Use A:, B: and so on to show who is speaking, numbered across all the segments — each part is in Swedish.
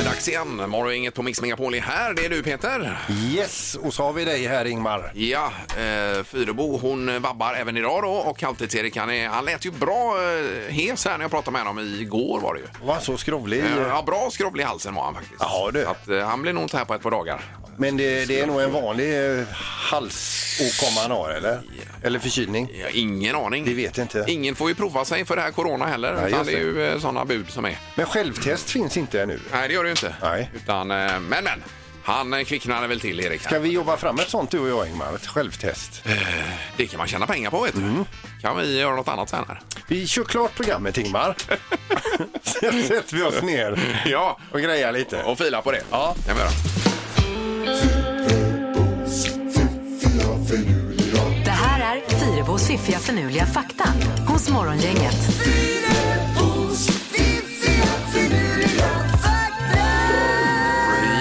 A: är dags igen. Morgongänget på Mix Megapol är här. Det är du, Peter.
B: Yes, och så har vi dig här Ingmar.
A: Ja, eh, Fyrebo hon vabbar även idag då och Halvtids-Erik han, är- han lät ju bra eh, hes här när jag pratade med honom igår var det ju.
B: Var så skrovlig.
A: Eh, Ja, bra skrovlig i halsen var han faktiskt.
B: Jaha, du.
A: Så att, eh, han blir nog inte här på ett par dagar.
B: Men det, det är nog en vanlig eh, halsåkomma han har eller? Eller förkylning.
A: Jag har ingen aning.
B: Vi vet inte.
A: Ingen får ju prova sig för det här corona heller.
B: Nej,
A: utan
B: just
A: det är ju sådana bud som är.
B: Men självtest finns inte ännu.
A: Nej, det gör det ju inte.
B: Nej.
A: Utan, eh, men, men. Han eh, kvicknade väl till, Erik.
B: Ska vi jobba fram ett sånt du och jag Ingmar? Ett självtest.
A: Det kan man tjäna pengar på, vet du.
B: Mm.
A: Kan vi göra något annat sen här?
B: Vi kör klart programmet Ingmar. Sen sätter vi oss ner
A: Ja,
B: och grejar lite.
A: och fila på det. Ja. Kan vi göra.
C: Det här är Fyrebos fiffiga förnuliga fakta hos Morgongänget.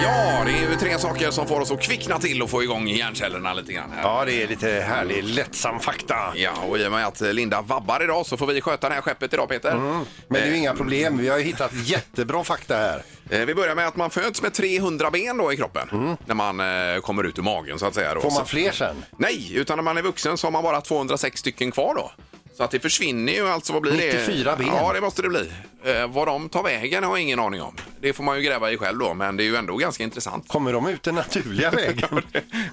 A: Ja, det är ju tre saker som får oss att kvickna till och få igång hjärnkällorna lite grann. Här.
B: Ja, det är lite härlig lättsam fakta.
A: Ja, och i och med att eh, Linda vabbar idag så får vi sköta det här skeppet idag, Peter.
B: Mm. Men det är ju inga problem. Vi har ju hittat jättebra fakta här.
A: Eh, Vi börjar med att man föds med 300 ben då i kroppen när man eh, kommer ut ur magen så att säga. Då.
B: Mm. Får man
A: Så-
B: fler sen?
A: Nej, utan när man är vuxen så har man bara 206 stycken kvar då. Så att det försvinner ju alltså, vad blir det?
B: 94 ben.
A: Ja, det måste det bli. Eh, vad de tar vägen har jag ingen aning om. Det får man ju gräva i själv då, men det är ju ändå ganska intressant.
B: Kommer de ut den naturliga vägen?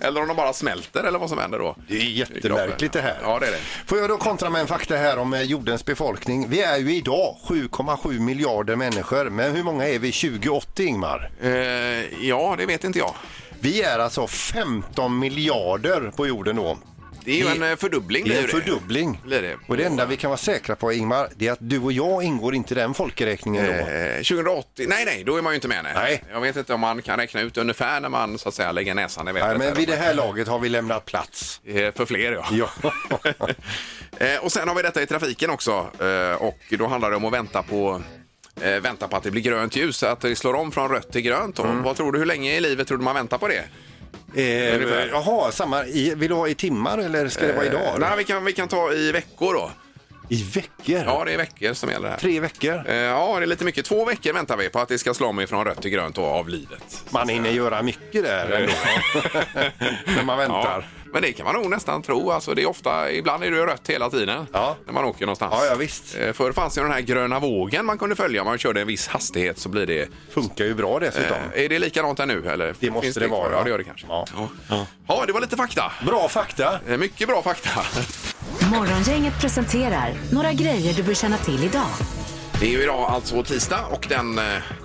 A: eller om de bara smälter eller vad som händer då.
B: Det är jättemärkligt det här.
A: Ja, det är det.
B: Får jag då kontra med en fakta här om eh, jordens befolkning. Vi är ju idag 7,7 miljarder människor, men hur många är vi 2080 Ingmar?
A: Eh, ja, det vet inte jag.
B: Vi är alltså 15 miljarder på jorden då.
A: Det är ju
B: Det-
A: en eh, fördubbling.
B: Det är
A: blir
B: en
A: ju
B: fördubbling.
A: Blir det.
B: Och det enda vi kan vara säkra på Ingmar, det är att du och jag ingår inte i den folkräkningen då.
A: Eh, 2080, nej nej, då är man ju inte med. Nej.
B: Nej.
A: Jag vet inte om man kan räkna ut ungefär när man så att säga lägger näsan i
B: Nej,
A: vädret.
B: men
A: eller
B: vid det
A: om
B: här laget har vi lämnat plats.
A: man- Eh, För fler ja.
B: Ja.
A: Eh, och sen har vi detta i trafiken också eh, och då handlar det om att vänta på eh, vänta på att det blir grönt ljus, så att det slår om från rött till grönt. då.
B: Mm.
A: Vad tror du, hur länge i livet tror du man väntar på det? Ungefär.
B: Jaha, samma. I, vill du ha i timmar eller ska det vara idag?
A: Eh, Eh,
B: då?
A: nej, vi kan, vi kan ta i veckor då.
B: I veckor?
A: Ja, det är veckor som gäller här.
B: Tre veckor?
A: Eh, Ja, det är lite mycket. Två veckor väntar vi på att det ska slå om från rött till grönt då, av livet.
B: Man hinner göra mycket där ändå. När man
A: Ja,
B: väntar.
A: men det kan man nog nästan tro. Alltså, det är ofta, ibland är det ju rött hela tiden
B: Ja.
A: när man åker någonstans.
B: Ja, ja, visst.
A: Eh, Förr fanns ju den här gröna vågen man kunde följa. Om man körde en viss hastighet så blir det...
B: Funkar ju bra dessutom.
A: Eh, Är det likadant här nu? Eller?
B: Det måste
A: Finns
B: det vara,
A: kvar?
B: ja.
A: Ja, det gör det kanske.
B: Ja.
A: Ja. ja, det var lite fakta.
B: Bra fakta.
A: Eh, Mycket bra fakta.
C: Morgongänget presenterar några grejer du bör känna till idag.
A: Det är ju idag alltså tisdag och den eh,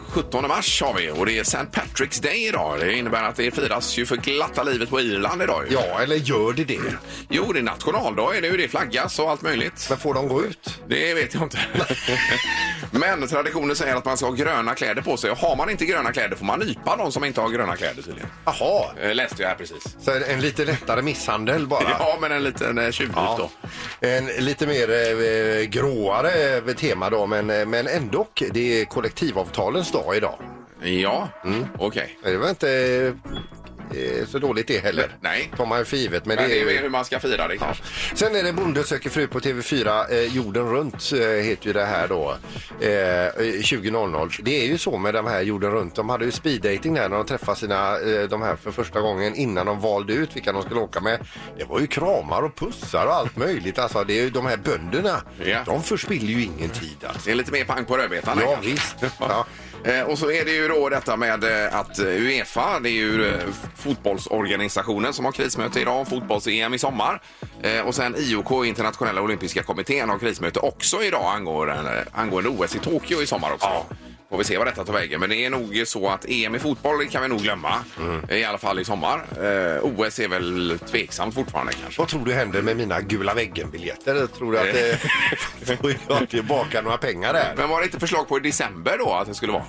A: 17 mars har vi och det är St. Patrick's Day idag. Det innebär att det firas ju för glatta livet på Irland idag. ju.
B: Ja, eller gör det det?
A: Jo, det är nationaldag, är det, ju. det flaggas och allt möjligt.
B: Men får de gå ut?
A: Det vet jag inte. Men traditionen säger att man ska ha gröna kläder på sig. Och har man inte gröna kläder får man nypa någon som inte har gröna kläder tydligen.
B: Jaha,
A: Eh, Läste jag här precis.
B: så en lite lättare misshandel bara.
A: Ja, men en liten eh, tjuvnyp då.
B: En lite mer eh, gråare eh, tema då, men, eh, men ändå. Det är kollektivavtalens dag idag.
A: Ja, okej.
B: Det var inte eh, så dåligt det heller.
A: Nej.
B: Tar man ju för givet. Men
A: Men
B: det är ju...
A: hur man ska fira det kanske.
B: Sen är det Bonde söker fru på TV4, eh, jorden runt eh, heter ju det här då, eh, eh, 2000. Det är ju så med de här jorden runt, de hade ju speeddating där när de träffade sina, eh, de här för första gången innan de valde ut vilka de skulle åka med. Det var ju kramar och pussar och allt möjligt. Alltså det är ju de här bönderna,
A: Ja.
B: de förspiller ju ingen tid alltså.
A: Det är lite mer pang på rödbetan. här
B: Ja
A: kanske.
B: visst. Ja.
A: Eh, Och så är det ju då detta med eh, att eh, Uefa, det är ju eh, fotbollsorganisationen som har krismöte idag om fotbolls-EM i sommar. Eh, Och sen IOK, Internationella Olympiska Kommittén, har krismöte också idag angående, eh, angående OS i Tokyo i sommar också. Får vi se vad detta tar vägen. Men det är nog så att EM i fotboll kan vi nog glömma. Eh, I alla fall i sommar. Eh, OS är väl tveksamt fortfarande kanske.
B: Vad tror du händer med mina gula väggen-biljetter? Tror du att eh, får jag tillbaka några pengar där?
A: Men var det inte förslag på i december då att det skulle vara?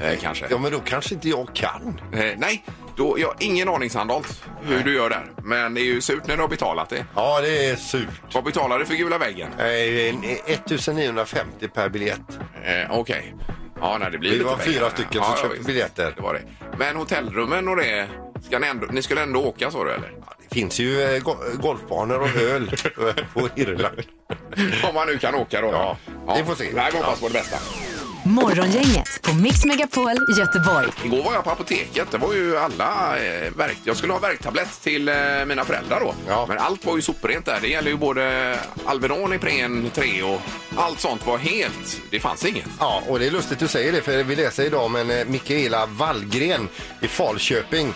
A: Eh, kanske.
B: Ja men då kanske inte jag kan.
A: Eh, nej, då, jag har ingen aning Sandholt hur du gör där. Men det är ju surt när du har betalat det.
B: Ja det är surt.
A: Vad betalar du för gula väggen?
B: Nej, en- 1950 Eh, per biljett.
A: Eh, Okej. Ja, nej, det blir
B: Vi
A: lite
B: var
A: pengar.
B: fyra stycken som köpte
A: visst.
B: biljetter.
A: Det var det. Men hotellrummen och det, ska ni, ändå, ni skulle ändå åka så du eller?
B: Det finns ju eh, go- golfbanor och öl på Irland.
A: Om man nu kan åka då.
B: Ja, vi får se.
A: Nej, vi hoppas på det bästa.
C: Morgongänget på Mix Megapol Göteborg.
A: Igår var jag på apoteket. Det var ju alla eh, verk. Jag skulle ha värktablett till eh, mina föräldrar då.
B: Ja.
A: Men allt var ju soprent där. Det gäller ju både Alvedon, Ipren 3 och allt sånt var helt... Det fanns inget.
B: Ja, och det är lustigt du säger det för vi läser idag om en eh, Mikaela Wallgren i Falköping.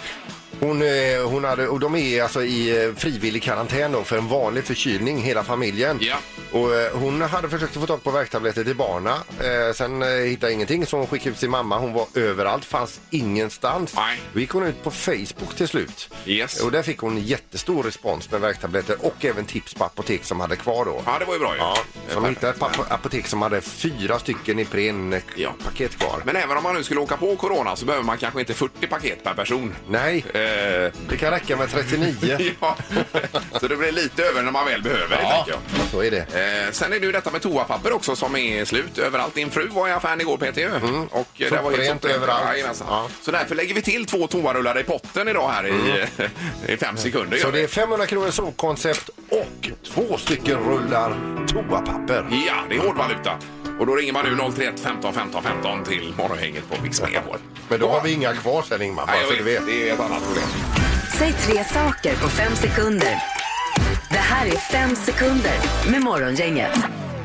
B: Hon, eh, hon hade, och de är alltså i eh, frivillig karantän då för en vanlig förkylning, hela familjen.
A: Ja.
B: Och eh, hon hade försökt få tag på värktabletter till barna. Eh, sen eh, hittade ingenting så hon skickade ut sin mamma. Hon var överallt, fanns ingenstans.
A: Nej.
B: Då gick hon ut på Facebook till slut.
A: Yes.
B: Och där fick hon jättestor respons med värktabletter och även tips på apotek som hade kvar då.
A: Ja, det var ju bra ju.
B: Ja, så de
A: Eh,
B: hittade ett pa- apotek som hade fyra stycken
A: Ja.
B: Ipren-paket kvar.
A: Men även om man nu skulle åka på corona så behöver man kanske inte 40 paket per person.
B: Nej,
A: Eh,
B: det kan räcka med 39.
A: ja. Så det blir lite över när man väl behöver det, tänker jag.
B: så är det.
A: Eh, sen är det ju detta med toapapper också som är slut överallt. Din fru var i affären igår Peter mm. och eh, där var ju
B: Soprent
A: soprent
B: överallt.
A: Jajamensan.
B: Ja.
A: Så därför lägger vi till två toarullar i potten idag här i, i fem sekunder.
B: Mm. Så
A: gör
B: det
A: vi.
B: är 500 kronor sovkoncept och två stycken rullar toapapper.
A: Ja, det är hårdvaluta. Och då ringer man nu 031 15 15 15 till morgonhänget på Mix Megapol.
B: Men då har vi inga kvar sen Ingmar, bara
A: Nej, jag
B: så du
A: vet.
B: vet.
A: Det är ett annat problem.
C: Säg tre saker på fem sekunder. Det här är fem sekunder med Morgongänget.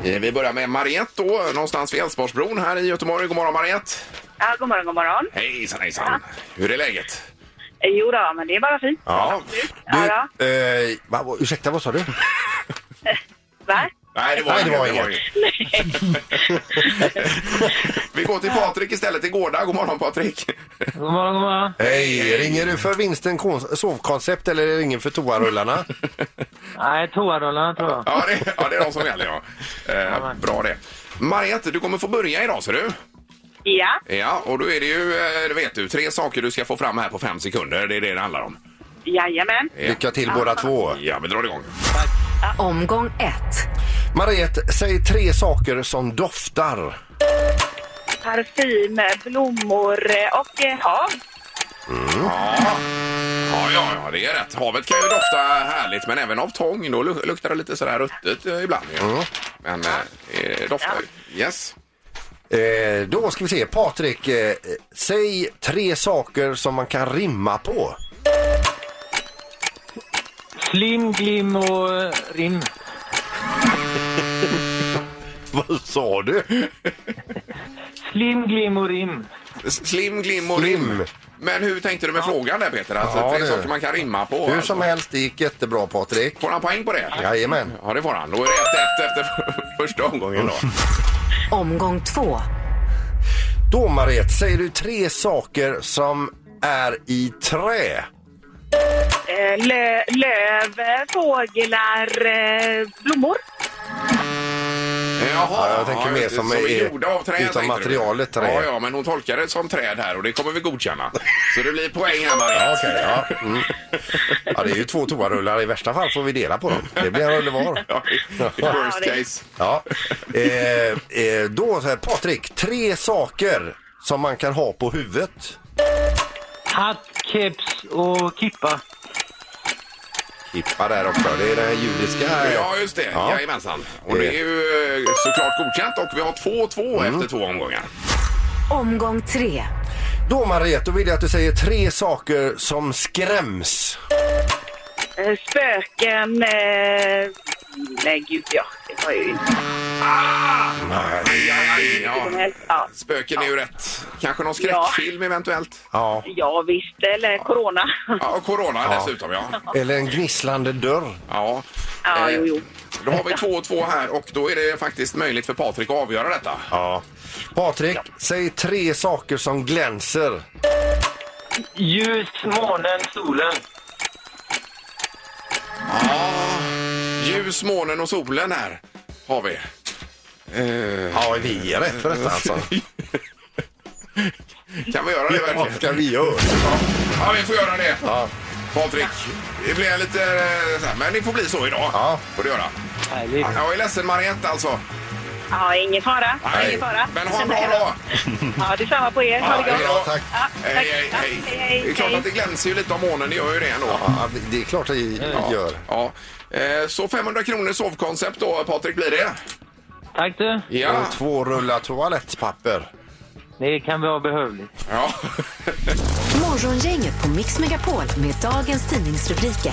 A: Eh, Vi börjar med Mariette då, någonstans vid Älvsborgsbron här i Göteborg. God morgon Mariette!
D: Ja, god morgon, god morgon.
A: Hejsan hejsan! Hur är läget?
D: Eh, Jo då, men det är bara fint.
B: Ja.
D: Ja,
B: Du, eh, va, ursäkta, vad sa du?
D: Va?
A: Nej, det var,
B: Nej, det var
A: inget. Vi går till Patrik istället i Gårda. God morgon Patrik!
E: God morgon, god morgon.
B: Hej, Eh, ringer du för vinsten kon- sovkoncept eller ringer för toarullarna?
E: Nej, toarullarna tror jag.
A: Ja, det, ja, det är de som gäller ja. Eh,
E: Jajamän.
A: bra det. Mariette, du kommer få börja idag ser du.
D: Ja,
A: Ja, och då är det ju, eh, det vet du, tre saker du ska få fram här på fem sekunder. Det är det det handlar om.
D: jajamän.
A: Ja.
B: Lycka till båda två.
A: Ja, vi drar igång.
C: Omgång ett.
B: Mariette, säg tre saker som doftar.
D: Parfym, eh, blommor eh, och eh, hav.
A: Ja. Ja, ja, ja, det är rätt. Havet kan ju dofta härligt, men även av tång. Då lu- luktar det lite sådär ruttet eh, ibland. ju.
B: Mm.
A: Men eh, det doftar ju. Yes.
B: Eh, då ska vi se, Patrik, eh, säg tre saker som man kan rimma på.
E: Slim, glim och eh, rim.
B: Vad sa du?
E: Slim, glim och rim.
A: S- Slim, glim och
B: Slim.
A: rim. Men hur tänkte du med frågan där Peter? Att
B: Ja,
A: det är
B: det-
A: saker man kan rimma på.
B: Hur
A: alltså.
B: som helst, det gick jättebra Patrik.
A: Får han poäng på det?
B: Jajamän.
A: Ja, det får han. Då är det 1-1 efter för- första omgången då.
C: Omgång två.
B: Då Mariette, säger du tre saker som är i trä?
D: Eh, Lö, löv, eh, fåglar, eh, blommor.
A: Jaha,
B: Ja, jag tänker mer
A: just det.
B: som
A: som
B: är-
A: är gjorda av trä.
B: utan
A: tänkte du.
B: materialet trä.
A: Ja, ja, men hon tolkar det som träd här och det kommer vi godkänna. Så det blir poäng här Maria.
B: Okej, ja. Mm. ja. Det är ju två toarullar, i värsta fall får vi dela på dem. Det blir en rulle var.
A: Ja, i- i worst
D: Ja, det-
A: case.
B: Ja. Eh, eh, då så här, Patrik, tre saker som man kan ha på huvudet.
E: Hatt, keps och kippa.
B: Kippa där också, det är den här judiska.
A: Ja, just det.
B: Ja.
A: Jajamensan. Och det är ju eh, såklart godkänt och vi har 2-2
B: Mm.
A: efter två omgångar.
C: Omgång tre.
B: Då Mariette, då vill jag att du säger tre saker som skräms.
D: Eh, Spöken. Eh, nej, gud ja. Det var ju inte
A: Aj, aj, aj,
D: som
A: ja.
D: helst. Ja.
A: Spöken är ju rätt. Kanske någon skräckfilm eventuellt.
B: Ja.
D: ja, visst. Eller corona.
A: Ja, och corona dessutom ja.
B: Eller en gnisslande dörr.
A: Ja.
D: Ja,
A: Eh,
D: jo, jo.
A: Då har vi 2-2 här och då är det faktiskt möjligt för Patrik att avgöra detta.
B: Ja. Patrik, säg tre saker som glänser.
E: Ljus, månen, solen.
A: Ljus, månen och solen här har vi.
B: Ja, vi är rätt för detta alltså.
A: Kan vi göra det
B: Vad
A: verkligen?
B: ska vi göra?
A: Ja, vi får göra det. Patrik, det blir lite... eh, så här, Men det får bli så idag.
B: Ja.
A: Får det göra.
E: Härligt.
A: Jag är ledsen Mariette alltså.
D: Ja, ingen fara.
A: Nej,
D: Ingen fara.
A: Men ha en bra dag!
D: Ja, detsamma på er. Ha det
A: Ja,
D: gott.
A: hej då.
B: Ja, tack.
D: Ja, tack.
A: Hej, hej,
D: Ja,
A: hej.
D: hej, hej,
A: Det är klart
D: hej.
A: att det glänser ju lite av månen, det gör ju det ändå.
B: Ja, det är klart att jag gör.
A: Ja. Eh, Så 500 kronor sovkoncept då, Patrik, blir det?
E: Tack du.
A: Ja.
B: Och två rullar toalettpapper.
E: Det kan vara behövligt.
A: ja.
C: Morgongänget på Mix Megapol med dagens tidningsrubriker.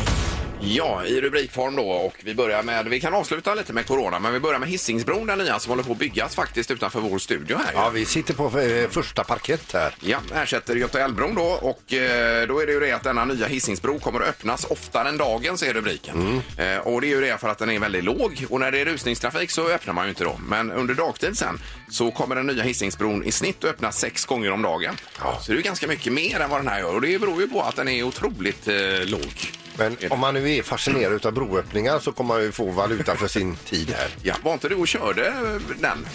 A: Ja, i rubrikform då. Och vi börjar med, vi kan avsluta lite med corona, men vi börjar med Hisingsbron, den nya som håller på att byggas faktiskt utanför vår studio här.
B: Ja, vi sitter på eh, första parkett här.
A: Ja, ersätter Göta älvbron då och eh, då är det ju det att denna nya Hisingsbro kommer att öppnas oftare än dagens är rubriken.
B: Mm.
A: Eh, och det är ju det för att den är väldigt låg och när det är rusningstrafik så öppnar man ju inte dem. Men under dagtid sen så kommer den nya Hisingsbron i snitt att öppnas sex gånger om dagen. Så det är ju ganska mycket mer än vad den här gör och det beror ju på att den är otroligt eh, låg.
B: Men om man nu är fascinerad utav broöppningar så kommer man ju få valuta för sin tid här.
A: Ja, var inte du och körde eh, den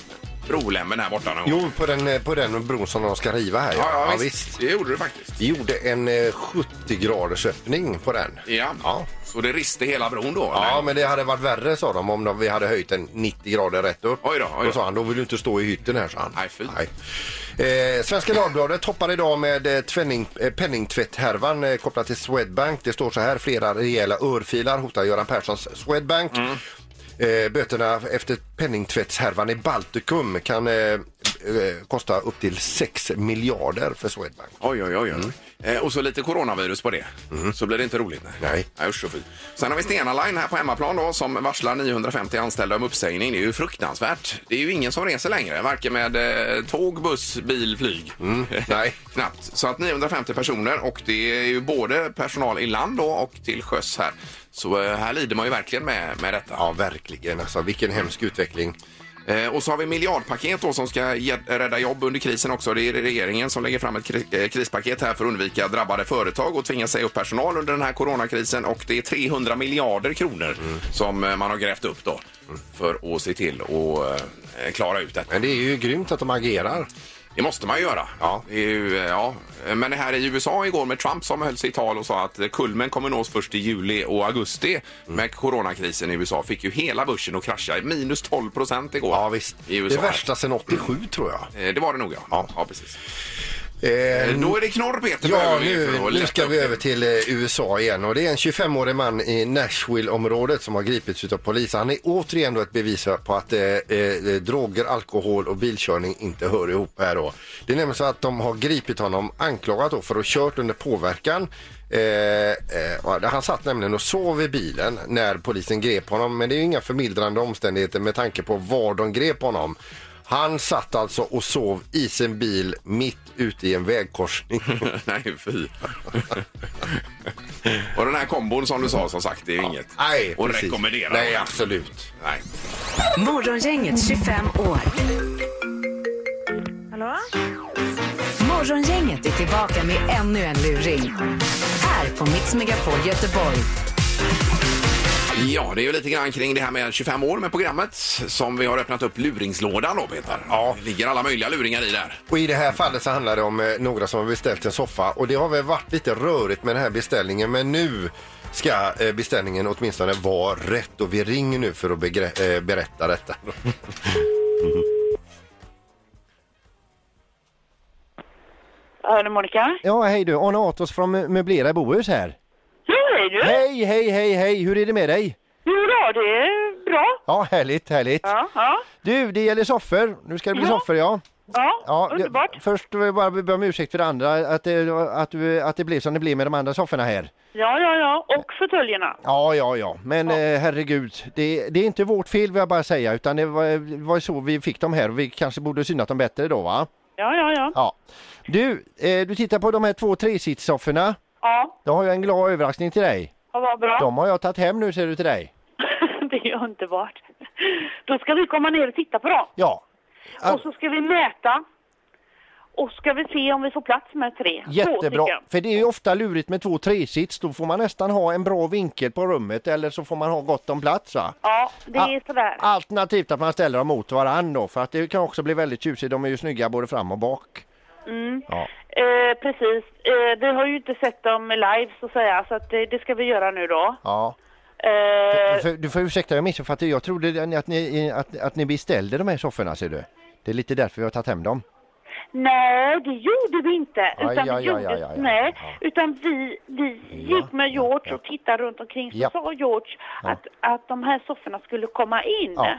A: brolämmen här borta någon gång?
B: Jo, på den, eh, på den bron som de ska riva här.
A: Ja, ja, visst. Det gjorde du faktiskt.
B: Vi gjorde en eh, 70 graders öppning på den.
A: Ja.
B: Ja.
A: så det riste hela bron då? eller?
B: Ja, men det hade varit värre sa de om de, vi hade höjt den 90 grader rätt upp.
A: Oj då, oj då.
B: sa han, då vill du inte stå i hytten här, sa han.
A: Nej, fy.
B: Nej. Eh, Svenska Dagbladet toppar idag med eh, tvenning, eh, penningtvätthärvan eh, kopplat till Swedbank. Det står så här, flera rejäla örfilar hotar Göran Perssons Swedbank.
A: Mm.
B: Eh, böterna efter penningtvättshärvan i Baltikum kan eh, eh, kosta upp till 6 miljarder för Swedbank.
A: Oj, oj, oj. oj. Eh, och så lite coronavirus på det. Så blir det inte roligt. Nej.
B: Mm. Nej.
A: usch och fy. Sen har vi Stena Line här på hemmaplan då, som varslar 950 anställda om uppsägning. Det är ju fruktansvärt. Det är ju ingen som reser längre, varken med eh, tåg, buss, bil, flyg.
B: Mm. nej.
A: Knappt. Så att 950 personer och det är ju både personal i land då och till sjöss här. Så eh, här lider man ju verkligen med, med detta.
B: Ja, verkligen. Alltså, vilken hemsk utveckling.
A: Eh, Och så har vi miljardpaket då som ska ge- rädda jobb under krisen också. Det är regeringen som lägger fram ett kri- eh, krispaket här för att undvika drabbade företag och tvinga säga upp personal under den här coronakrisen. Och det är 300 miljarder kronor
B: Mm.
A: som eh, man har grävt upp då för att se till att eh, klara ut detta.
B: Men det är ju grymt att de agerar.
A: Det måste man ju göra.
B: Ja.
A: Det är ju, eh, ja. Men det här i USA igår med Trump som höll sitt tal och sa att eh, kulmen kommer nås först i juli och
B: Mm.
A: augusti med coronakrisen i USA fick ju hela börsen att krascha. Minus 12 procent igår
B: Ja, visst.
A: i
B: Det
A: USA.
B: värsta sedan 87 tror jag.
A: Eh, Det var det nog, ja.
B: Ja.
A: precis.
B: Eh,
A: Då är det knorr, Peter.
B: Ja,
A: behöver vi för
B: nu,
A: att
B: nu
A: lätta
B: ska
A: upp
B: vi
A: det.
B: över till eh, USA igen och det är en 25-årig man i Nashville-området som har gripits utav polis. Han är återigen då ett bevis på att eh, eh, droger, alkohol och bilkörning inte hör ihop här då. Det är nämligen så att de har gripit honom anklagat då för att ha kört under påverkan. Eh, eh, och han satt nämligen och sov i bilen när polisen grep honom men det är ju inga förmildrande omständigheter med tanke på var de grep honom. Han satt alltså och sov i sin bil mitt ute i en vägkorsning.
A: Nej, fy. och den här kombon som du sa, som sagt, det är ju inget
B: Nej,
A: att
B: precis.
A: rekommendera.
B: Nej, absolut.
A: Nej.
C: Morgongänget 25 år.
D: Hallå?
C: Morgongänget är tillbaka med ännu en luring. Här på Mix Megapol Göteborg.
A: Ja, det är ju lite grann kring det här med 25 år med programmet som vi har öppnat upp luringslådan då, Peter.
B: Ja.
A: Det ligger alla möjliga luringar i där.
B: Och i det här fallet så handlar det om eh, några som har beställt en soffa och det har väl varit lite rörigt med den här beställningen men nu ska eh, beställningen åtminstone vara rätt och vi ringer nu för att begre- eh, berätta detta.
D: Hör du Monica?
F: Ja, hej du. Arne Atos från Mö- Möblera Bohus här.
D: Hej du!
F: Hej, hej, hej, hej! Hur är det med dig?
D: Jo då, det är bra.
F: Ja, härligt, härligt.
D: Ja, ja,
F: Du, det gäller soffor. Nu ska det bli
D: Ja.
F: soffor, ja.
D: ja,
F: ja jag-
D: underbart.
F: först vill jag bara be om ursäkt för det andra, att det, att, du- att det blev som det blev med de andra sofforna här.
D: Ja, ja, ja. Och fåtöljerna.
F: Ja, ja, ja. Men Eh, herregud, det, det är inte vårt fel vill jag bara säga, utan det var, det var så vi fick dem här och vi kanske borde synat dem bättre då, va?
D: Ja, ja, ja.
F: Ja. Du, eh, du tittar på de här två tresitssofforna.
D: Ja,
F: Då har jag en glad överraskning till dig.
D: ja, vad bra.
F: De har jag tagit hem nu ser du till dig.
D: det är underbart. Då ska vi komma ner och titta på dem.
F: Ja, Ja.
D: Och så ska vi mäta. Och ska vi se om vi får plats med tre. Två
F: Jättebra,
D: stycken.
F: för det är ju ofta lurigt med två tresits. Då får man nästan ha en bra vinkel på rummet eller så får man ha gott om plats. Va?
D: Ja, det
F: Ah.
D: är sådär.
F: Alternativt att man ställer dem mot varandra då, för att det kan också bli väldigt tjusigt. De är ju snygga både fram och bak. Ja.
D: Eh, precis. Eh, vi har ju inte sett dem live så att säga, så att det, det ska vi göra nu då.
F: Ja.
D: Eh,
F: För, du får ursäkta, jag missuppfattade. Jag trodde att ni, att, att ni beställde de här sofforna ser du. Det är lite därför vi har tagit hem dem.
D: Nej, det gjorde vi inte.
F: Aj,
D: Utan,
F: aj,
D: vi,
F: aj,
D: gjorde,
F: aj, aj, aj.
D: Nej,
F: Ja.
D: utan vi, vi gick med George och tittade runt omkring. Så
F: Ja.
D: sa George att, att de här sofforna skulle komma in.
F: Ja,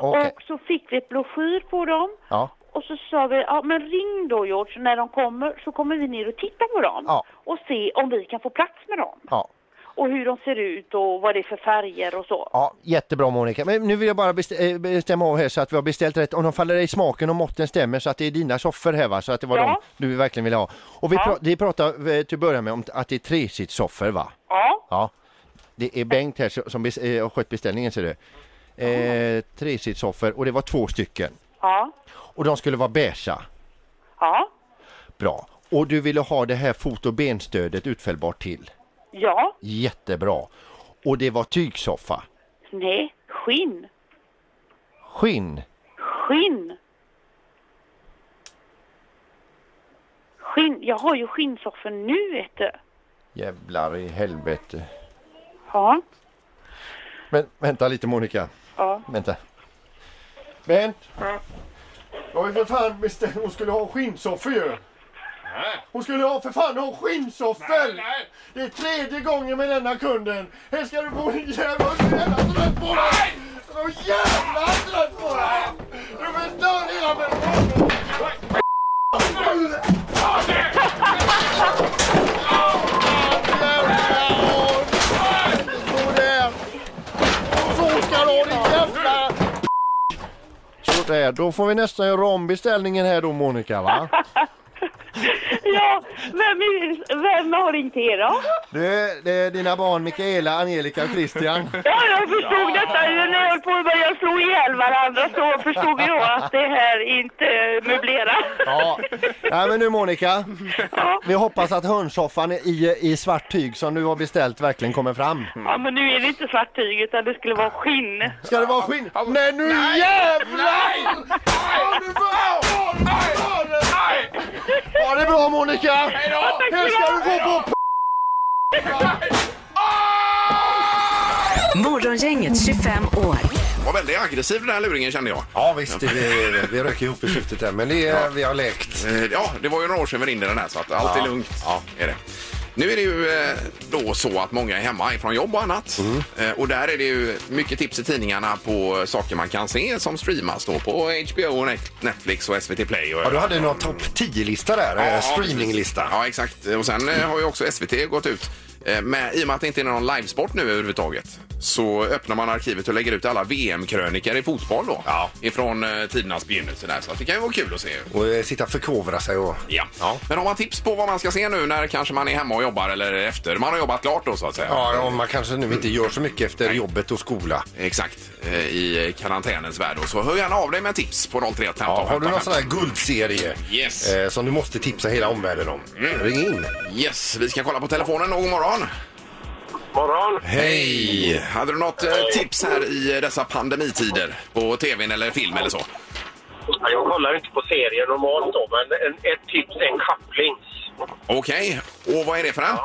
F: Okej.
D: Och så fick vi ett broschyr på dem.
F: Ja.
D: Och så sa vi, ja men ring då George, när de kommer så kommer vi ner och titta på dem.
F: Ja.
D: Och se om vi kan få plats med dem.
F: Ja.
D: Och hur de ser ut och vad det är för färger och så.
F: Ja, jättebra Monica. Men nu vill jag bara bestä- eh, bestämma av här så att vi har beställt rätt. Om de faller i smaken och måtten stämmer så att det är dina soffor här va? Så att det var
D: Ja.
F: de du verkligen ville ha. Och vi,
D: Ja.
F: pra- vi pratade eh, till att börja med om t- att det är tresitssoffor va?
D: Ja,
F: Ja. Det är Bengt här som- som bes- eh, har skött beställningen ser du. Eh, tresitssoffor och det var två stycken.
D: ja,
F: Och de skulle vara beiga.
D: ja,
F: Bra. Och du ville ha det här fot och benstödet utfällbart till.
D: ja,
F: Jättebra. Och det var tygsoffa.
D: nej, skinn,
F: Skinn.
D: skinn. Skinn, jag har ju skinnsoffor nu vet du.
F: Jävlar i helvete.
D: Ja,
F: Men vänta lite Monica.
D: ja.
F: Vänta. Bent! Jag har ju för fan bestämt hon skulle ha skinnsoffor ju. Hon skulle ha för fan ha skinnsoffor! Det är tredje gången med denna kunden. Här ska du få din jävla jag är så jävla trött på dig! Jag är så jävla trött på dig! Du förstör hela min Sådär, då får vi nästan göra om beställningen här då Monica va?
D: Ja, vem, är, vem har ringt er då?
F: Det, det är dina barn Mikaela, Angelica och Christian.
D: Ja, jag förstod detta ju när jag höll på att börja slå ihjäl varandra så förstod jag att det här inte möblerar.
F: Ja. Nej men nu Monica,
D: Ja.
F: vi hoppas att hörnsoffan i, i svart tyg som du har beställt verkligen kommer fram.
D: ja, men nu är det inte svart tyg utan det skulle vara skinn.
F: Ska det vara skinn? Nej nu jävlar! Ja, nu får jag ha den, ha den. Ha det bra Monica! Här ska du få på
C: Morgongänget 25 år.
A: Var väldigt aggressiv den här luringen kände jag.
B: Ja visst, det- vi, vi rök ihop i slutet där, men det, är- vi har läkt.
A: Eh, Ja, det var ju några år sedan vi ringde den här så att allt är lugnt. Ja, är det. Nu är det ju eh, då så att många är hemma ifrån jobb och annat.
B: Mm.
A: Eh, Och där är det ju mycket tips i tidningarna på saker man kan se som streamas då på HBO, och Net- Netflix och SVT Play. Och
B: Ja, du hade någon topp 10-lista där, eh,
A: Ja,
B: streaminglista.
A: precis. Ja, exakt. Och sen eh, har ju också SVT gått ut eh, med, i och med att det inte är någon livesport nu överhuvudtaget så öppnar man arkivet och lägger ut alla VM-krönikor i fotboll då.
B: Ja.
A: Ifrån eh, tidernas begynnelse där. Så att det kan ju vara kul att se.
B: Och eh, sitta och förkovra sig och...
A: Ja. Men har man tips på vad man ska se nu när kanske man är hemma och jobbar eller efter man har jobbat klart då så att säga?
B: Ja, om man kanske nu inte gör så mycket efter jobbet och skola.
A: Exakt. Eh, I karantänens värld då. Så hör gärna av dig med tips på 031 15
B: Ja, har du
A: 15
B: någon sån här guldserie
A: Yes.
B: eh, som du måste tipsa hela omvärlden om?
F: Mm.
B: Ring in!
A: Yes, vi ska kolla på telefonen. God morgon!
G: morgon.
A: Hej! Hade du något eh, tips här i eh, dessa pandemitider? På tvn eller film eller så?
G: Ja, Jag kollar ju inte på serier normalt då, men en, ett tips är en coupling.
A: Okej, och vad är det för en?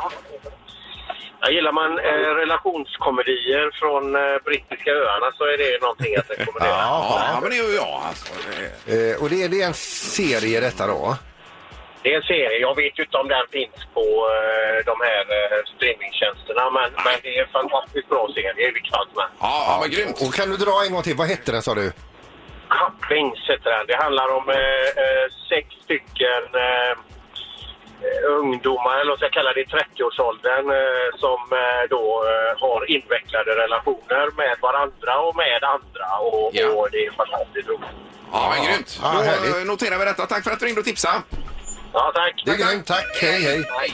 G: Ja, gillar man eh, relationskomedier från eh, brittiska öarna så är det någonting att rekommendera.
A: Ja, men det är ju jag alltså. Eh,
B: Eh, och det, är- det är en serie detta då?
G: Det är en serie. Jag vet ju inte om den finns på eh, de här eh, streamingtjänsterna, men, men det är en fantastiskt bra serie i vilket fall som helst.
A: Ja, ja, men grymt!
B: Och kan du dra en gång till? Vad hette den sa du?
G: Couplings heter den. Det handlar om eh, eh, sex stycken eh, eh, ungdomar, eller vad ska jag kalla det, i 30-årsåldern eh, som eh, då eh, har invecklade relationer med varandra och med andra. Och,
A: Ja.
G: och det är fantastiskt roligt.
A: Ja, men grymt!
B: Ja,
A: Då
B: härligt.
A: eh, noterar vi detta. Tack för att du ringde och tipsade.
G: Ja, tack!
B: Det är grymt, tack! Hej, hej!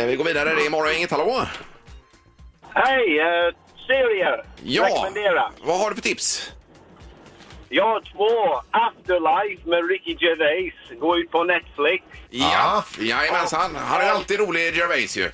A: Eh, Vi går vidare. Det är imorgon. Inget hallå?
G: Hej! Eh, serier!
A: Ja!
G: Rekommendera!
A: Vad har du för tips?
G: Jag har två. Afterlife med Ricky Gervais. Går ut på Netflix.
A: Ja, jajamensan. Han är alltid rolig, Gervais ju.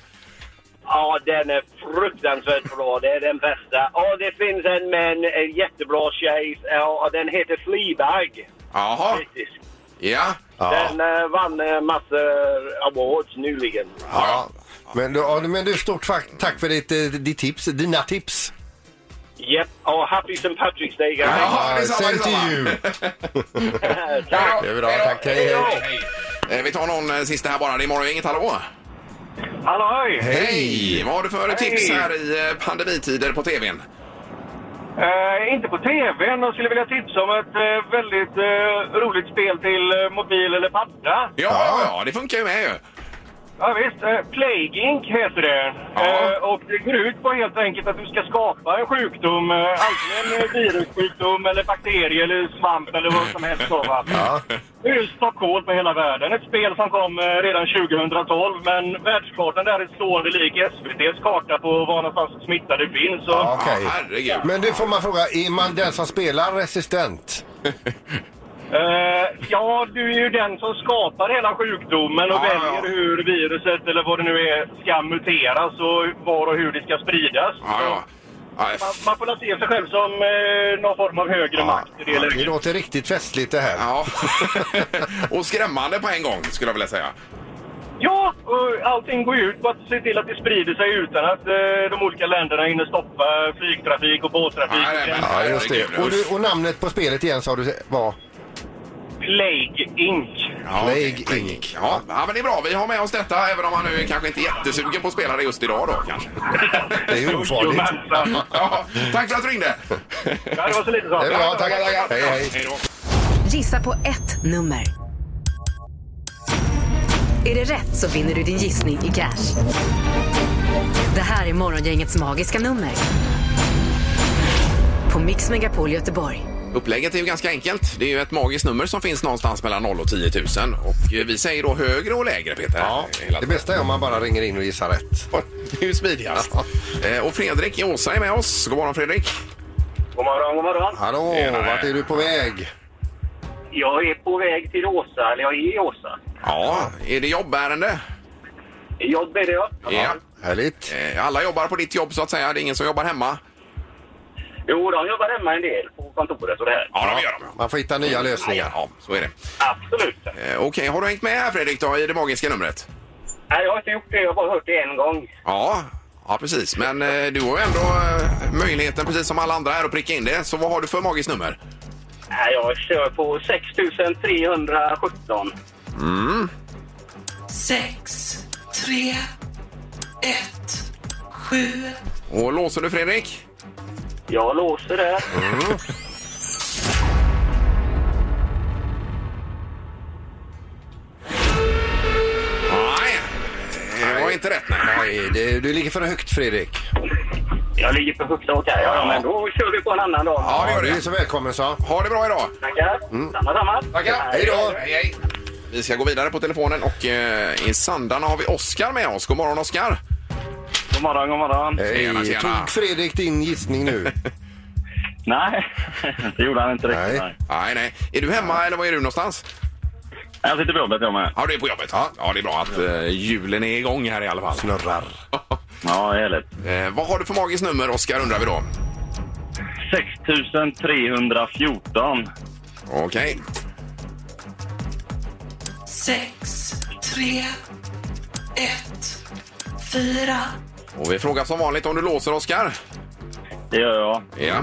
G: Ja, den är fruktansvärt bra. Det är den bästa. Ja, det finns en med en, en jättebra tjej. Ja, och den heter Fleabag.
A: Jaha.
G: Brittisk.
A: Ja.
B: Ja.
G: Den eh, vann eh, massor awards nyligen.
B: Ja. Men, du, ja, men du, stort tack, tack för ditt, eh, ditt tips, dina tips.
G: Yep. Oh, happy St. Patrick's Day, guys.
A: Jaha, detsamma,
B: Same to
A: detsamma.
B: you.
G: Tack.
B: Det är bra, tack. Eh, Hej, hej.
A: Eh, Vi tar någon eh, sista här bara. Det är Morgongänget, hallå!
G: Halloj!
A: Hej! Vad har du för
G: Hej.
A: tips här i eh, pandemitider på tvn?
G: Eh, inte på TVn. Jag skulle vilja tipsa om ett eh, väldigt eh, roligt spel till eh, mobil eller padda.
A: Ja, ja, ja, det funkar ju med ju.
G: Ja, visst. Eh, Plague Inc. heter det.
A: Ja.
G: Eh, och det går ut på helt enkelt att du ska skapa en sjukdom. Eh, antingen en virussjukdom eller bakterie eller svamp eller vad som helst. Så, va?
B: Ja.
G: Det är ju Stockholm på hela världen. Ett spel som kom eh, redan 2012. Men världskartan där är stående lik SVTs karta på var någonstans smittade finns. Så
B: Ja, okej.
A: Ja, herregud.
B: Men du får man fråga, är man den som spelar resistent?
G: Eh, ja, du är ju den som skapar hela sjukdomen och
A: Ja, ja, ja.
G: väljer hur viruset eller vad det nu är ska muteras och var och hur det ska spridas.
A: Ja, ja. Ja,
G: Man,
A: f-
G: man får väl se sig själv som eh, någon form av högre makt i det
B: Det
G: läget.
B: låter riktigt festligt det här.
A: ja. Och skrämmande på en gång, skulle jag vilja säga.
G: Ja, och allting går ju ut på att se till att det sprider sig utan att eh, de olika länderna hinner stoppa flygtrafik och båttrafik.
A: Nej, nej, men-
B: Ja, just det.
A: Herregud,
B: Och, du, och namnet på spelet igen sa du var?
G: Plague Inc.
A: Ja,
B: Plague
A: okej,
B: Inc.
A: Inc. Ja. ja, men det är bra. Vi har med oss detta, även om han nu kanske inte är jättesugen på att spela det just idag då, kanske.
B: Det är ju ofarligt.
G: Jajamensan.
A: Ja, tack för att du ringde!
G: Ja, det var så lite så.
B: Det är bra, tackar, tackar. Hej, hej.
A: Hej då.
C: Gissa på ett nummer. Är det rätt så vinner du din gissning i cash. Det här är Morgongängets magiska nummer. På Mix Megapol Göteborg.
A: Upplägget är ju ganska enkelt. Det är ju ett magiskt nummer som finns någonstans mellan 0 och 10 000. Och eh, vi säger då högre och lägre, Peter. Eh,
B: Ja,
A: Hela
B: det bästa är om man bara ringer in och gissar rätt.
A: Det är ju smidigast. Eh, Och Fredrik i Åsa är med oss. God morgon Fredrik.
G: God morgon, god morgon.
B: Hallå,
A: Tjenare.
B: vart är du på väg?
G: Jag är på väg till Åsa, eller jag är i Åsa.
A: Ja, är det jobbärende?
G: Jobb är det, ja.
B: Härligt.
A: Eh, Alla jobbar på ditt jobb så att säga. Det är ingen som jobbar hemma.
G: Jo, de jobbar hemma en del på kontoret och det här.
A: Ja, de gör de.
B: Man får hitta nya lösningar.
A: Ja, så är det.
G: Absolut.
A: Eh, Okej, har du hängt med här Fredrik då i det magiska numret?
G: Nej, jag har inte gjort det. Jag har bara hört det en gång.
A: Ja, ja precis. Men eh, du har ju ändå eh, möjligheten precis som alla andra här att pricka in det. Så vad har du för magiskt nummer?
G: Nej, jag kör på 6317.
A: Och låser du Fredrik?
G: Jag låser det.
A: Nej, det var inte rätt nej.
B: Nej, det, du ligger för högt Fredrik.
G: Jag ligger på högt tak här. Ja, men då kör vi på en annan dag.
A: Ja, det gör
B: Du är
A: det.
B: så välkommen så.
A: Ha det bra idag.
G: Tackar. Samma, samma.
A: Tackar.
B: Hej då.
A: Hej, hej. Vi ska gå vidare på telefonen och eh, i Sandarna har vi Oskar med oss. God morgon Oskar!
G: God morgon, god morgon.
A: Tjena,
B: Hej,
A: tjena.
B: tog Fredrik din gissning nu?
G: Nej, det gjorde han inte
B: Nej.
G: riktigt. Nej.
A: Nej, nej. Är du hemma eller var är du någonstans?
G: Jag sitter på jobbet jag med.
A: Ja, du är på jobbet. Ja, det är bra att eh, julen är igång här i alla fall.
B: Snurrar.
G: Ja, härligt.
A: Eh, vad har du för magiskt nummer Oskar undrar vi då?
G: 6314.
A: Okej. Och vi frågar som vanligt om du låser Oskar.
G: Det gör jag.
A: Ja.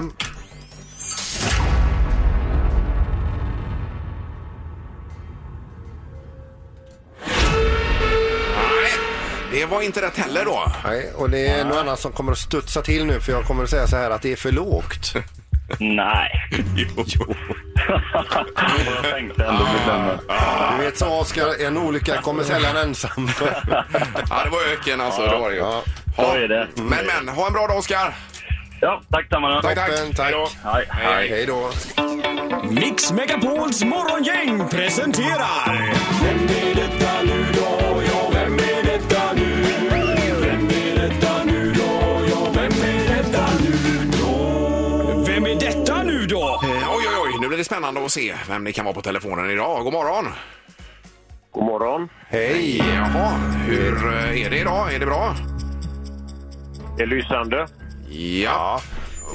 A: Nej, Det var inte rätt heller då.
B: Nej, och det är någon annan som kommer att studsa till nu för jag kommer att säga så här att det är för lågt.
G: Nej.
A: Jo, jo.
G: jag tänkte ändå bestämma.
B: Du vet så Oskar, en olycka kommer sällan ensam.
A: Ja, det var öken alltså. Det var det ju.
B: Ja.
A: Ja.
G: Så är det. Mm.
A: Men, men, ha en bra dag Oskar!
G: Ja, tack samma.
A: Tack, tack!
B: Toppen, tack.
A: Hej då.
G: Hej, hej.
B: Hej då.
H: Mix Megapols morgongäng presenterar... Vem är detta nu då? Ja, vem är detta nu? Vem är detta nu då? Ja, vem är detta nu då? Vem är detta nu då?
A: Eh, Oj, oj, oj, nu blir det spännande att se vem det kan vara på telefonen idag. God morgon!
G: God morgon.
B: Hej.
A: Jaha, hur eh, är det idag? Är det bra?
G: Det är lysande.
A: Ja.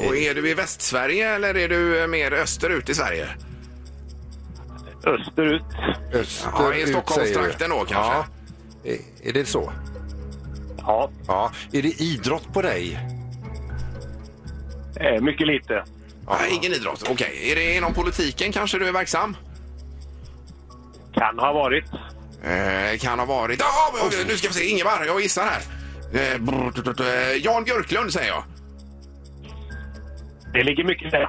A: Och är du i Västsverige eller är du eh, mer österut i Sverige?
F: österut.
B: Österut,
A: Ja, i
B: säger
A: Stockholmstrakten
B: du.
A: då kanske.
B: Ja. Är- Är det så?
F: Ja,
B: Ja. Är det idrott på dig?
F: eh, mycket lite.
A: Nej, ingen idrott. Okej, är det inom politiken kanske du är verksam?
F: Kan ha varit.
A: Eh, kan ha varit... Ja, men, nu ska vi se. Ingemar, jag gissar här. Eh, brr, tut, tut, eh, Jan Björklund säger jag.
F: Det ligger mycket där.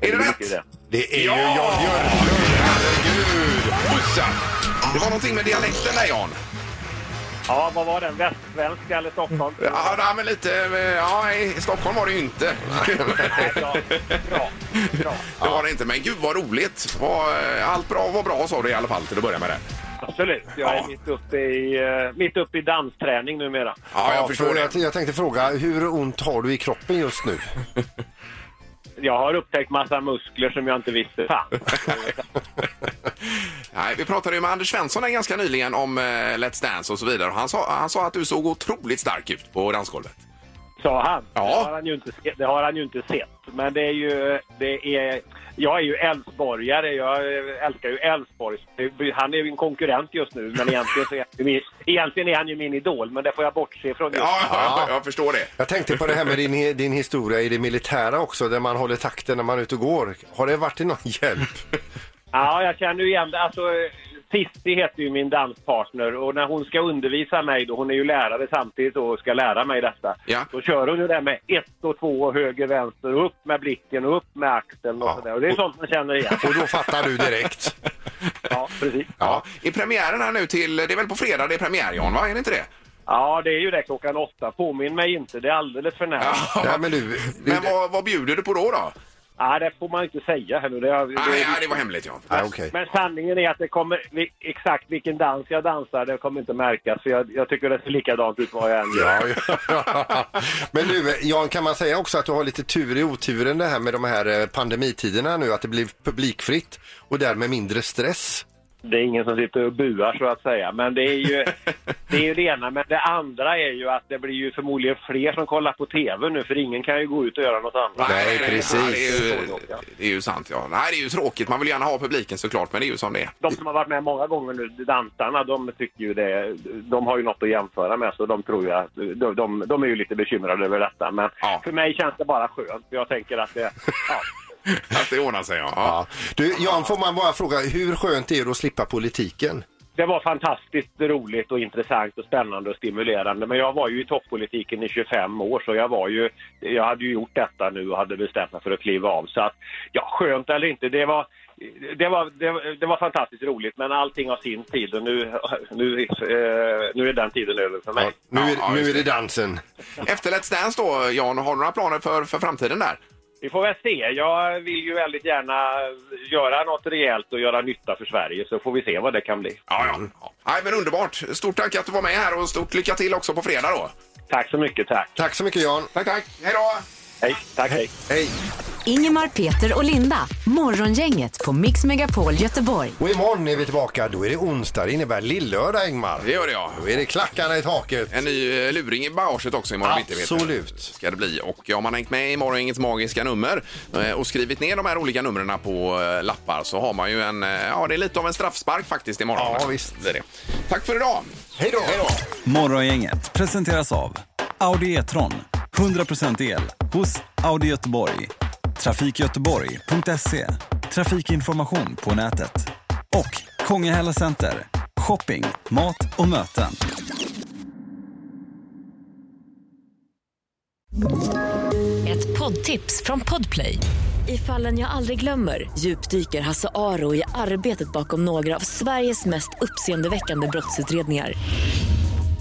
A: Är det rätt?
B: Det är
A: Ja!
B: ju Jan Björklund.
A: Herregud! Jossan! Det var någonting med dialekten där, Jan.
F: Ja, vad var den? Västsvensk eller Stockholm?
A: Ja, nej, men lite... eh, Ja, i Stockholm var det ju inte.
F: bra, bra, bra.
A: Det var det inte, men gud vad roligt. Vad, eh, Allt bra var bra sa du i alla fall till att börja med. Det.
F: Absolut. Jag är
A: Ja.
F: mitt, uppe i, eh, mitt uppe i dansträning numera.
A: Ja, jag förstår
B: för
A: det.
B: att Jag tänkte fråga, hur ont har du i kroppen just nu?
F: Jag har upptäckt massa muskler som jag inte visste fanns.
A: Nej, vi pratade ju med Anders Svensson här ganska nyligen om eh, Let's Dance och så vidare. Och Han sa, han sa att du såg otroligt stark ut på dansgolvet.
F: Sa han.
A: Ja.
F: Det, har han ju inte, se- det har han ju inte sett. Men det är ju... Det är, jag är ju Älvsborgare. Jag älskar ju Älvsborg. Det- Han är ju en konkurrent just nu. Men egentligen, så är, han ju min, egentligen är han ju min idol. Men det får jag bortse från. just
A: Ja,
F: nu.
A: ja. jag förstår det.
B: Jag tänkte på det här med din, din historia i det militära också, där man håller takten när man är ute och går. Har det varit till någon hjälp?
F: Ja, jag känner ju igen det. Alltså, Titti heter ju min danspartner och när hon ska undervisa mig, då, hon är ju lärare samtidigt och ska lära mig detta,
A: Ja.
F: då kör hon ju det här med ett och två och höger, vänster, och upp med blicken och upp med axeln och
B: Ja.
F: sådär. Och det är sånt man känner igen.
B: Och då fattar du direkt.
F: Ja, precis.
A: Ja, I premiären här nu till, det är väl på fredag det är premiär Jan, va? Är det inte det?
F: Ja, det är ju det klockan åtta. Påminn mig inte, det är alldeles för nära. Ja,
B: Nej, men du, du,
A: Men vad, vad bjuder du på då? då?
F: det får man inte säga här nu. Det är,
A: Nej,
F: det är,
A: nej, det var hemligt Jan.
B: Nej, okej.
F: Men sanningen är att det kommer, vi- exakt vilken dans jag dansar, det kommer inte märkas. För jag, jag tycker det ser likadant ut vad jag än gör.
B: Ja, ja. Men du, Jan, kan man säga också att du har lite tur i oturen det här med de här eh, pandemitiderna nu, att det blir publikfritt och därmed mindre stress?
F: Det är ingen som sitter och buar så att säga. Men det är ju det, är ju det ena. Men det andra är ju att det blir ju förmodligen fler som kollar på TV nu för ingen kan ju gå ut och göra något annat.
B: Nej, precis.
A: Ja, det, är ju, det är ju sant ja. Nej, det är ju tråkigt. Man vill gärna ha publiken såklart, men det är ju som det är.
F: De som har varit med många gånger nu, dansarna, de tycker ju det. De har ju något att jämföra med så de tror ju att, de, de, de är ju lite bekymrade över detta. Men
A: Ja.
F: för mig känns det bara skönt. Jag tänker att det, ja.
A: Att det ordnar sig ja. ja.
B: Ja. Du, Jan, får man bara fråga, hur skönt är det att slippa politiken?
F: Det var fantastiskt roligt och intressant och spännande och stimulerande. Men jag var ju i toppolitiken i 25 år så jag var ju, jag hade ju gjort detta nu och hade bestämt mig för att kliva av. Så att, ja, skönt eller inte, det var, det var, det, var- det var fantastiskt roligt men allting har sin tid och nu, nu, eh, nu är den tiden över för mig.
B: Ja, nu,
A: Ja,
B: är,
A: ja,
B: nu
A: just
B: är det dansen.
A: Efter Let's Dance då Jan, har du några planer för, för framtiden där?
F: Vi får väl se. Jag vill ju väldigt gärna göra något rejält och göra nytta för Sverige så får vi se vad det kan bli.
A: Ja, ja. ja. Mm. Nej, men underbart. Stort tack att du var med här och stort lycka till också på fredag då.
F: Tack så mycket, tack.
B: Tack så mycket, Jan.
A: Tack, tack. Hej då!
F: Hej, tack, hej.
B: Hej.
I: Ingemar, Peter och Linda. Morgongänget på Mix Megapol Göteborg.
B: Och imorgon är vi tillbaka. Då är det onsdag. Det innebär lillördag, Ingmar.
A: Det gör det ja.
B: Då är det klackarna i taket.
A: En ny eh, luring i bagaget också imorgon bitti, vet du.
B: Absolut.
A: ska det bli. Och om man hängt med i Morgongängets magiska nummer eh, och skrivit ner de här olika numren på eh, lappar så har man ju en, eh, ja det är lite av en straffspark faktiskt imorgon.
B: Ja, visst.
A: Det är det. Tack för idag!
B: Hej då.
A: Hej då!
G: Morgongänget presenteras av Audi E-tron. 100% el hos Audi Göteborg. Trafikgöteborg.se. Trafikinformation på nätet. Och Kongahälla Center. Shopping, mat och möten.
C: Ett poddtips från Podplay. I fallen jag aldrig glömmer djupdyker Hasse Aro i arbetet bakom några av Sveriges mest uppseendeväckande brottsutredningar.